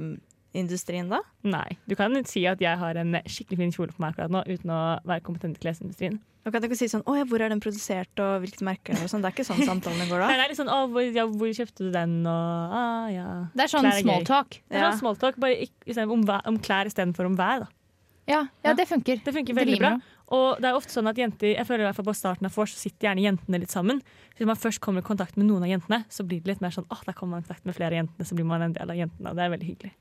E: klesindustrien da?
B: Nei, du kan si at jeg har en skikkelig fin kjole på meg akkurat nå, uten å være kompetent i klesindustrien.
E: Da kan du ikke si sånn 'Å ja, hvor er den produsert', og hvilket merke er det', og sånn. Det er ikke sånn samtalene
B: [LAUGHS]
E: går da.
B: Nei, det er litt sånn, å, hvor, ja, hvor kjøpte du den, og ah, ja.
A: Det er sånn
B: Klær er gøy.
A: small talk.
B: Det er
E: Ja.
B: sånn smalltalk, bare ikk- i stedet om, vær- om klær istedenfor om vær. Da.
A: Ja, ja, det funker.
B: Det funker
A: Det
B: veldig bra.
A: rimer
B: Og det er ofte sånn at jenter, jeg føler i hvert fall på starten av vors, så sitter gjerne jentene litt sammen. Hvis man først kommer i kontakt med noen av jentene, så blir det litt mer sånn åh, der kommer man i kontakt med flere av jentene, så blir man en del av jentene, og det er veldig hyggelig.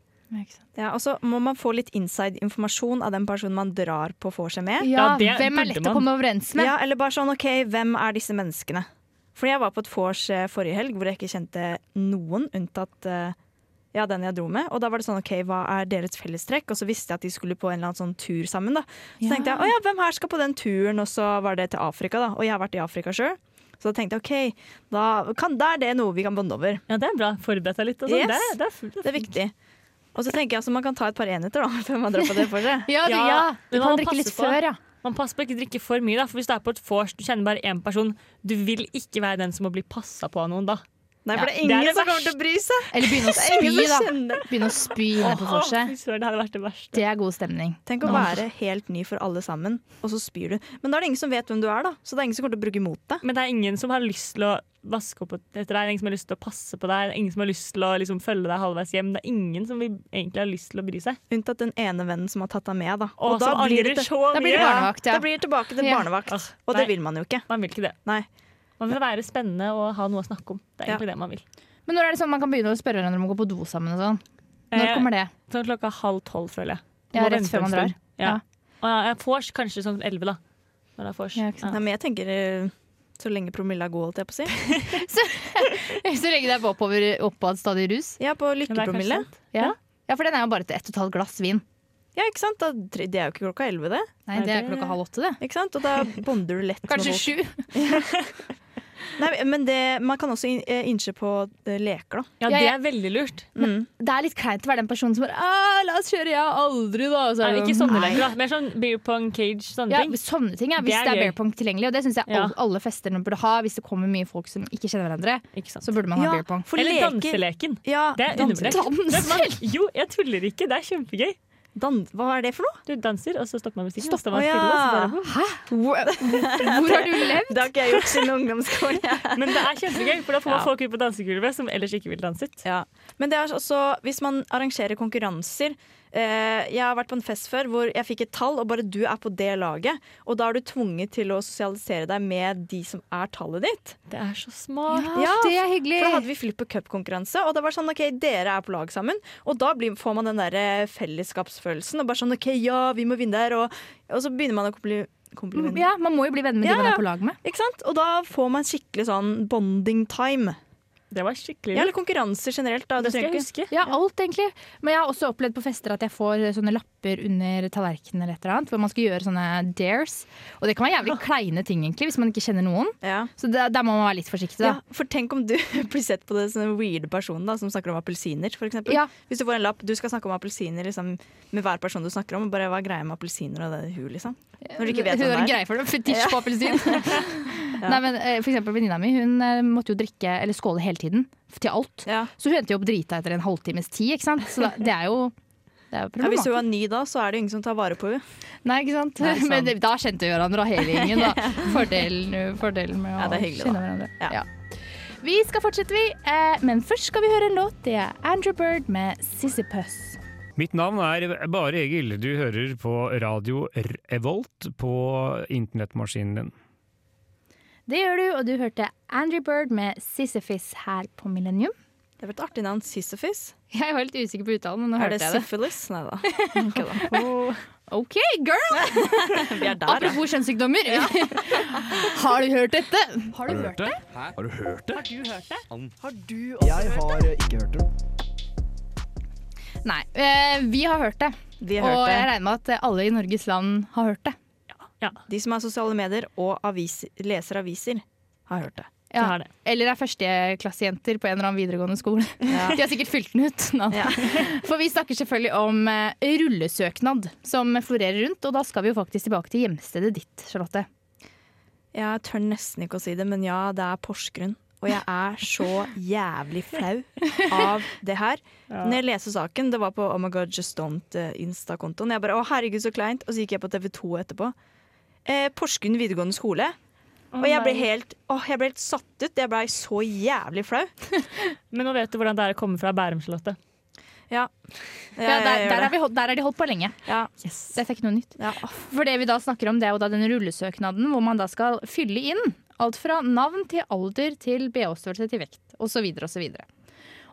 E: Ja, og så må man få litt inside-informasjon av den personen man drar på vorset med.
A: Ja,
B: Ja, det
A: hvem
B: burde
A: er lett å
B: man.
A: komme overens med?
E: ja, eller bare sånn, ok, hvem er disse menneskene? Fordi jeg var på et vors eh, forrige helg hvor jeg ikke kjente noen, unntatt eh, ja, den jeg dro med. Og da var det sånn, ok, hva er deres fellestrekk? Og så visste jeg at de skulle på en eller annen sånn tur sammen. da. Så tenkte jeg, å ja, hvem her skal på den turen? Og så var det til Afrika, da. Og jeg har vært i Afrika sjøl. Så da tenkte jeg, ok, da, kan, da er det noe vi kan bonde over.
B: Ja, det er bra. Forbered deg litt. Og
E: Yes.
B: sånn. det, er- det er fullt.
E: Det er viktig. Og så tenker jeg altså, man kan ta et par enheter da, [LAUGHS] før man drar på det [LAUGHS] vorset.
A: Ja, du,
B: Ja,
A: ja. du
B: men man
A: kan
B: må
A: drikke
B: passe
A: litt
B: på.
A: før, ja.
B: Man passer på å ikke drikke for mye, da, for hvis du er på et vors, du kjenner bare én person, du vil ikke være den som må bli passa på av noen da.
E: Nei, for det er
B: det er
E: ingen
B: det
E: som kommer til å bry seg.
A: Eller
B: [LAUGHS]
A: begynne å
E: Det
A: spy,
E: er ingen som
A: da.
E: kjenner
A: Begynne å spy inne på
B: Å, fy
A: vorset.
B: søren, det hadde vært det verste.
A: Det er god stemning.
E: Tenk å være helt ny for alle sammen, og så spyr du. Men da er det ingen som vet hvem du er, da. Så det er ingen som kommer til å bruke mot deg.
B: Men det er ingen som har lyst til å vaske opp etter deg, det er ingen som har lyst til å passe på deg, det er ingen som har lyst til å liksom, følge deg halvveis hjem. Det er ingen som vil, egentlig har lyst til å bry seg.
E: Unntatt den ene vennen som har tatt deg med, da.
B: Og,
E: da
B: som angrer
E: det-
B: så
A: Da blir det
B: mye.
A: barnevakt, ja.
E: Da blir det tilbake til
A: Ja.
E: barnevakt.
B: Åh,
E: Og det
B: nei.
E: vil man jo ikke.
B: Man vil ikke det.
E: Nei.
B: Man vil være spennende og ha noe å snakke om. Det
E: Ja.
B: er egentlig det man vil.
A: Men når er det sånn man kan begynne å spørre hverandre om å gå på do sammen og sånn? Når
B: Eh,
A: kommer det? [LAUGHS]
B: Sånn klokka halv tolv, føler jeg.
A: Ja,
B: Må
A: rett
B: vente
A: før
B: en
A: man drar.
B: stund. Ja. Og ja, jeg vors kanskje sånn elleve, da. Når sånn. det er vors.
A: Ja, ikke sant.
E: Nei, men jeg tenker eh, så lenge promilla er god, holdt jeg på å si.
A: Så lenge det er på oppover, oppadstadig rus.
E: Ja, på
B: Men det er kanskje
E: lykkepromille.
B: sant.
A: Ja. ja, for den er jo bare til ett og et halvt glass vin.
E: Ja, ikke sant? Da, tre- det er jo ikke klokka elleve, det.
A: Nei,
B: Nei,
A: det er
B: det-
A: klokka halv åtte, det.
E: Ikke sant? Og da bonder du lett. med
A: Kanskje
E: folk.
A: sju.
E: Nei, men det, man kan også in- eh, innse på eh, leker, da.
A: Ja,
B: Ja, det
A: ja.
B: er veldig lurt.
A: Det er litt kleint å være den personen som bare «Ah, 'La oss kjøre, ja, aldri', da. og så er
B: Nei,
A: det
B: ikke
A: sånn,
B: sånne leker, da. Mer sånn beer pong cage, sånne
A: Ja,
B: ting.
A: sånne ting, ja.
B: Det
A: Hvis
B: er
A: det er
B: gøy.
A: beer pong tilgjengelig. Og det syns jeg
B: Ja.
A: alle, alle fester nå burde ha. Hvis det kommer mye folk som ikke kjenner hverandre,
B: Ikke sant.
A: så burde man ha beer pong.
E: for
B: Eller
E: leker-
B: danseleken.
E: Ja,
B: Det er
E: dans-
B: undervurdert. Det er man- Jo, jeg tuller ikke. Det er kjempegøy.
E: Dan hva er det for noe?
B: Du danser, og så stopper man musikken. og så står man
E: Å, ja.
B: stille, og så altså, bare,
A: Hæ? Hvor, [LAUGHS] hvor har du levd?
E: [LAUGHS] Det har ikke jeg gjort siden ungdomsskolen.
B: "Hm." Men det er kjempegøy, for da får man
E: Ja.
B: folk ut på dansegulvet som ellers ikke ville danset.
E: Ja. Men det er også, hvis man arrangerer konkurranser, eh, Jeg har vært på en fest før hvor jeg fikk et tall, og bare du er på det laget. Og da er du tvunget til å sosialisere deg med de som er tallet ditt.
B: Det er så smart.
E: Ja,
A: det er hyggelig.
E: For da hadde vi flipper cup-konkurranse, og det var sånn OK, dere er på lag sammen. Og da blir, får man den der eh, fellesskapsfølelsen, og bare sånn OK, ja, vi må vinne der, og, og så begynner man å kompli- komplimentere.
A: Mm, Ja, Man må jo bli venner med
E: Ja,
A: de man
E: ja.
A: er på lag med.
E: Ikke sant? Og da får man skikkelig sånn bonding time.
B: Det var skikkelig
E: Ja, eller konkurranser generelt, da. Det
B: Det skal jeg
E: trenger ikke
B: huske.
A: Ja, alt egentlig. Men jeg har også opplevd på fester at jeg får sånne lapper under tallerkenen eller et eller annet, hvor man skal gjøre sånne dares. Og det kan være jævlig kleine ting, egentlig, hvis man ikke kjenner noen.
E: ja.
A: Så da- der må man være litt forsiktig,
E: Ja,
A: da.
E: for tenk om du [LAUGHS] blir sett på det som en weird person da, som snakker om appelsiner, for eksempel.
A: Ja.
E: Hvis du får en lapp, du skal snakke om appelsiner liksom, med hver person du snakker om, og bare hva er greia med appelsiner og det er hun, liksom. Når du ikke vet
A: hun
E: hvem
A: har en
E: det er.
A: greie for det. Fetisj på appelsin.
E: [LAUGHS]
A: [LAUGHS] Nei, men eh, for eksempel venninna mi, hun eh, måtte jo drikke eller skåle hele tiden. Til alt.
E: Ja.
A: Så hun endte jo opp drita etter en halvtimes tid, ikke sant. Så da, det er jo det er jo
E: Ja, hvis
A: problematisk.
E: hun er ny da, så er det jo ingen som tar vare på henne.
A: Nei, ikke sant?
E: Nei,
A: [LAUGHS]
E: sant.
A: Men det, da kjente vi hverandre og hele gjengen.
E: [LAUGHS]
A: Da. Fordelen, eh, fordelen med å
E: Ja, det er hyggelig,
A: kjenne
E: da.
A: hverandre.
E: Ja.
A: Vi skal fortsette, vi. Eh, men først skal vi høre en låt. Det er Andrew Bird med 'Sisypus'.
I: Mitt navn er Bare Egil. Du hører på radio Revolt på internettmaskinen din.
A: Det gjør du, og du hørte Andrew Bird med 'Sisyphus' her på Millennium.
E: Det var et artig navn, Sisyphus.
A: Jeg var litt usikker på uttalen, men nå
E: Er det
A: hørte jeg det.
E: syphilis? Nei
A: [LAUGHS]
E: da. Ikke da.
A: OK, girl!
E: Vi er der, ja.
A: Apropos kjønnssykdommer. [LAUGHS] Har du hørt dette? Har du hørt det?
D: Har du hørt det?
E: Jeg
D: Jeg har ikke hørt det.
A: Nei. Eh, vi har hørt det.
E: Vi har
A: Og
E: hørt
A: jeg
E: det.
A: regner med at alle i Norges land har hørt det.
B: Ja,
E: De som har sosiale medier og avis, leser aviser, har hørt det.
B: det har det.
A: Eller er førsteklassejenter på en eller annen videregående skole.
E: Ja.
A: [LAUGHS] De har sikkert fylt den ut. Nei.
E: Ja.
A: [LAUGHS] For vi snakker selvfølgelig om eh, rullesøknad som florerer rundt, og da skal vi jo faktisk tilbake til hjemstedet ditt, Charlotte.
E: Jeg tør nesten ikke å si det, men ja, det er Porsgrunn. Og jeg er så jævlig flau av det her. Når jeg leser saken, det var på Oh my god, just don't eh, Insta-kontoen. Jeg bare, å herregud så kleint, og så gikk jeg på TV 2 etterpå. Eh, Porsgrunn videregående skole. Og jeg ble, helt, åh, jeg ble helt satt ut. Jeg ble så jævlig flau.
B: Men nå vet du hvordan det er å komme fra Bærumslottet.
E: Ja, ja,
A: Ja,
E: jeg
A: der,
E: gjør
A: der, er
E: det.
A: vi, hold- der er de holdt på lenge.
E: Ja,
A: Dette er ikke noe nytt.
E: ja.
A: For det vi da snakker om, det er jo da den rullesøknaden hvor man da skal fylle inn alt fra navn til alder til BH-størrelse til vekt, osv. osv.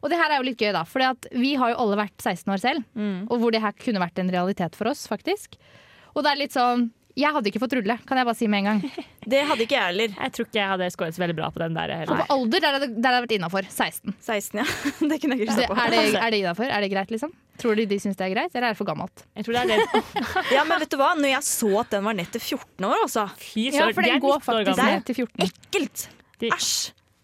A: Og det her er jo litt gøy, da. For vi har jo alle vært 16 år selv.
B: Mm.
A: Og hvor det her kunne vært en realitet for oss, faktisk. Og det er litt sånn Jeg hadde ikke fått rulle, kan jeg bare si med en gang.
E: Det hadde ikke jeg heller.
B: Jeg tror ikke jeg hadde skåret så veldig bra på den der
A: Og på
B: heller.
A: alder, der har det, der har det vært innafor. 16.
E: 16, ja. [LAUGHS] Det kunne jeg ikke
A: Så det,
E: stå
A: er
E: på.
A: det, er det innafor? Er det greit, liksom? Tror du de syns det er greit, eller er det for gammelt?
B: Jeg tror det er det.
E: Ja, men vet du hva? Når jeg så at den var nett til 14 år, altså.
B: Fy
A: Ja,
B: søren,
A: for
B: de
A: den
B: er
A: går
B: 19 år
A: faktisk
B: gamle.
A: ned til 14.
E: Ekkelt!
B: De-
E: Æsj!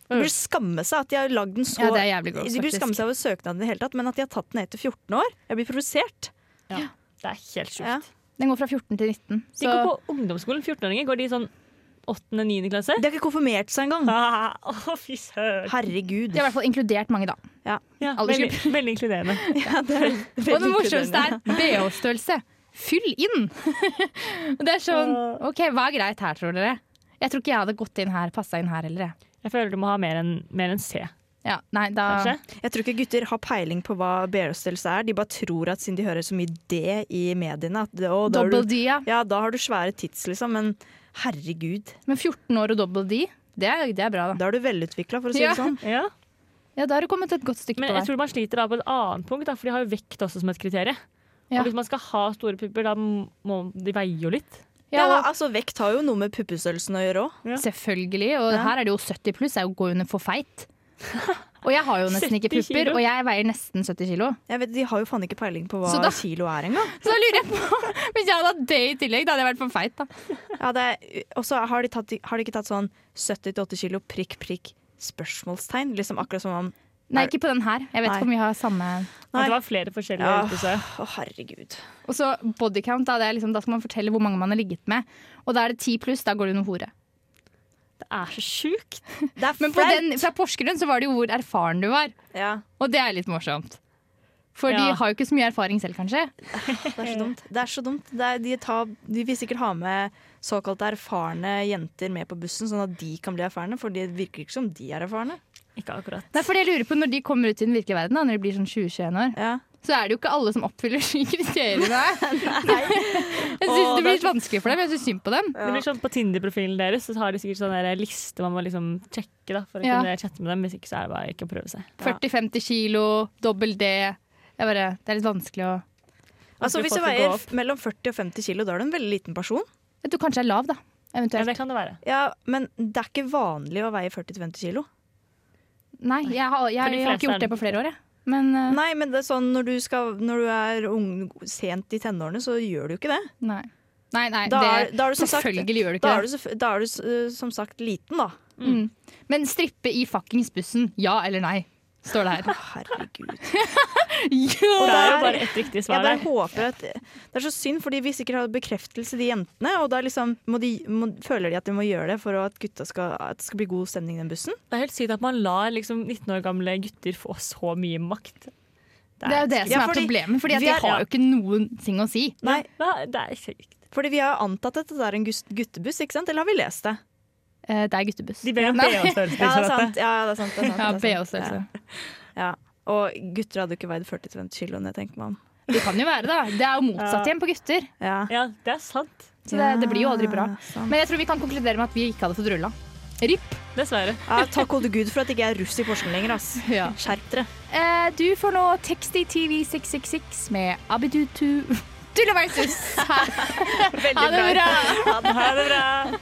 E: De burde skamme seg at de har lagd den så
A: Mm. Ja, det er jævlig gross,
E: De burde skamme
A: faktisk.
E: seg over søknaden i det hele tatt, men at de har tatt den ned til 14 år. Jeg blir provosert.
B: Ja, det er helt sjukt.
E: Ja.
A: Den går fra 14 til 19.
B: De går på ungdomsskolen, 14-åringer. Går de i sånn 8.-9. klasse?
E: De har ikke konfirmert seg engang.
B: Ah, Å, fy søren.
E: Herregud.
A: De har i hvert fall inkludert mange, da.
B: Ja, veldig,
A: Aldersgruppe.
B: veldig inkluderende.
E: Ja, det [LAUGHS] er veldig
A: Og det morsomste er
E: inkluderende.
A: BH-størrelse. Fyll inn! [LAUGHS] det er sånn OK, hva er greit her, tror dere? Jeg tror ikke jeg hadde gått inn her, passa inn her heller, jeg.
B: Jeg føler du må ha mer enn mer enn C,
A: Ja, nei, da
B: kanskje.
E: Jeg tror ikke gutter har peiling på hva BH-størrelse er. De bare tror at siden de hører så mye D i mediene, at det, å, da, har
A: Double
E: du,
A: D, ja.
E: ja, da har du svære tits, liksom. Men herregud,
A: Men 14 år og double D, det er, det er bra, da.
E: da er du velutvikla, for å si
A: Ja.
E: det sånn.
B: Ja.
A: Ja, da har du kommet et godt stykke
B: Men
A: på
B: jeg
A: vei.
B: tror man sliter da på et annet punkt, da, for de har jo vekt også som et kriterium.
A: Ja.
B: Og hvis man skal ha store pupper, da må de veie jo litt.
A: [LAUGHS]
E: Ja,
A: Ja, og-
E: altså Vekt har jo noe med puppestørrelsen å gjøre òg.
A: Selvfølgelig. Og her er det jo 70 pluss, er jo å gå under for feit. Og jeg har jo nesten ikke
B: 70
A: pupper,
B: kilo.
A: og jeg veier nesten 70 kilo.
E: Jeg vet, De har jo faen ikke peiling på hva
A: Så da-
E: kilo er engang.
A: Så da lurer jeg på, [LAUGHS] hvis jeg hadde hatt det i tillegg, da hadde jeg vært for feit, da.
E: Ja, det er- Og så har, de tatt- har de ikke tatt sånn 70-80 kilo prikk, prikk, spørsmålstegn? Liksom akkurat som om
A: Nei, ikke på den her. Jeg vet
E: Nei.
A: ikke om vi har samme
E: Nei.
B: At det var flere forskjellige
E: Ja.
B: ute, så.
E: Å, herregud.
A: Og så bodycount, da, det er liksom, da skal man fortelle hvor mange man har ligget med. Og da er det ti pluss, da går det under hore.
B: Det er så sjukt.
E: Det er
A: Men på den, fra Porsgrunn så var det jo hvor erfaren du var.
E: Ja,
A: Og det er litt morsomt. For
B: Ja.
A: de har jo ikke så mye erfaring selv, kanskje.
E: det er så dumt. Det er så dumt. Det er, de, tar, de vil sikkert ha med såkalt erfarne jenter med på bussen, sånn at de kan bli erfarne, for det virker ikke som de er erfarne.
B: Ikke akkurat.
A: Nei, for jeg lurer på Når de kommer ut i den virkelige verden, da, når de blir sånn 20-21 år,
E: Ja.
A: så er det jo ikke alle som oppfyller de [LAUGHS] kriteriene her. Jeg syns det blir litt vanskelig for dem. Jeg syns synd på dem.
B: Det blir sånn På Tinder-profilen deres så har de sikkert sånn der liste man må liksom sjekke da, for å
A: Ja.
B: kunne chatte med dem. Hvis ikke så er det bare ikke å prøve seg.
A: 40-50 kilo, dobbel D. Jeg bare, det er litt vanskelig å
E: Altså,
B: Vanskelig
E: hvis du
B: å få til å gå
E: veier
B: opp.
E: mellom 40 og 50 kilo, da er du en veldig liten person.
A: Jeg tror kanskje jeg er lav, da.
B: Ja,
A: Eventuelt.
B: det kan det være.
E: Ja, Men det er ikke vanlig å veie 40-50 kilo.
A: Nei, jeg har, jeg,
B: For de
A: har
B: fleste
A: ikke
B: er
A: gjort det på flere år, jeg. Men eh,
E: Nei, men det er sånn når du, skal, når du er ung, sent i tenårene, så gjør du jo ikke det.
A: nei. Nei, nei,
E: Da er,
A: det,
E: da er du som sagt,
A: selvfølgelig gjør du
E: da
A: ikke
E: er
A: det. Mm.
E: du, så- da er du eh, som sagt liten, da.
A: Men strippe i fuckings bussen, ja eller nei, står det
E: [LAUGHS]
A: her.
E: Herregud.
B: Og det er jo
E: der-
B: bare ett riktig
E: Jeg
B: svar
E: bare
B: der.
E: håper at Det er så synd, fordi vi sikkert har bekreftelse, de jentene. Og da liksom må de, må, føler de at de må gjøre det for at, gutta skal, at det skal bli god stemning i den bussen.
B: Det er helt sykt at man lar liksom 19 år gamle gutter få så mye makt.
A: Det er jo det som
E: Ja,
A: er
E: fordi
A: problemet, Fordi at
E: vi
A: de
E: er-
A: har jo ikke noen ting å si.
E: Nei,
B: Hva? Det er sykt.
E: fordi vi har jo antatt at det er en gus- guttebuss, ikke sant? Eller har vi
A: [LAUGHS]
E: lest det?
A: Eh, Det er guttebuss.
B: De ber om
A: Nei.
B: BH-størrelse.
E: Ja, det er sant. Ja, det er sant, det er sant,
A: Ja,
E: det er sant.
A: BH-størrelse.
E: Ja. Og gutter hadde jo ikke veid 40-50 kilo, når jeg tenker meg om.
A: Det kan jo være, da. Det er jo motsatt igjen på gutter.
E: Ja.
B: Ja, det er sant.
A: Så det, det blir jo aldri bra.
E: Ja, sant.
A: Men jeg tror vi kan konkludere med at vi ikke hadde fått rulla. RIP.
B: Dessverre.
E: Ja, takk gode gud for at jeg ikke er russ i Porsgrunn lenger, ass.
A: Ja.
E: Skjerp dere.
A: Eh, Du får nå Texty TV 666 med [LAUGHS] Abidutu Tulavaisus. Ha det bra.
E: Ha det.
B: Ha det bra.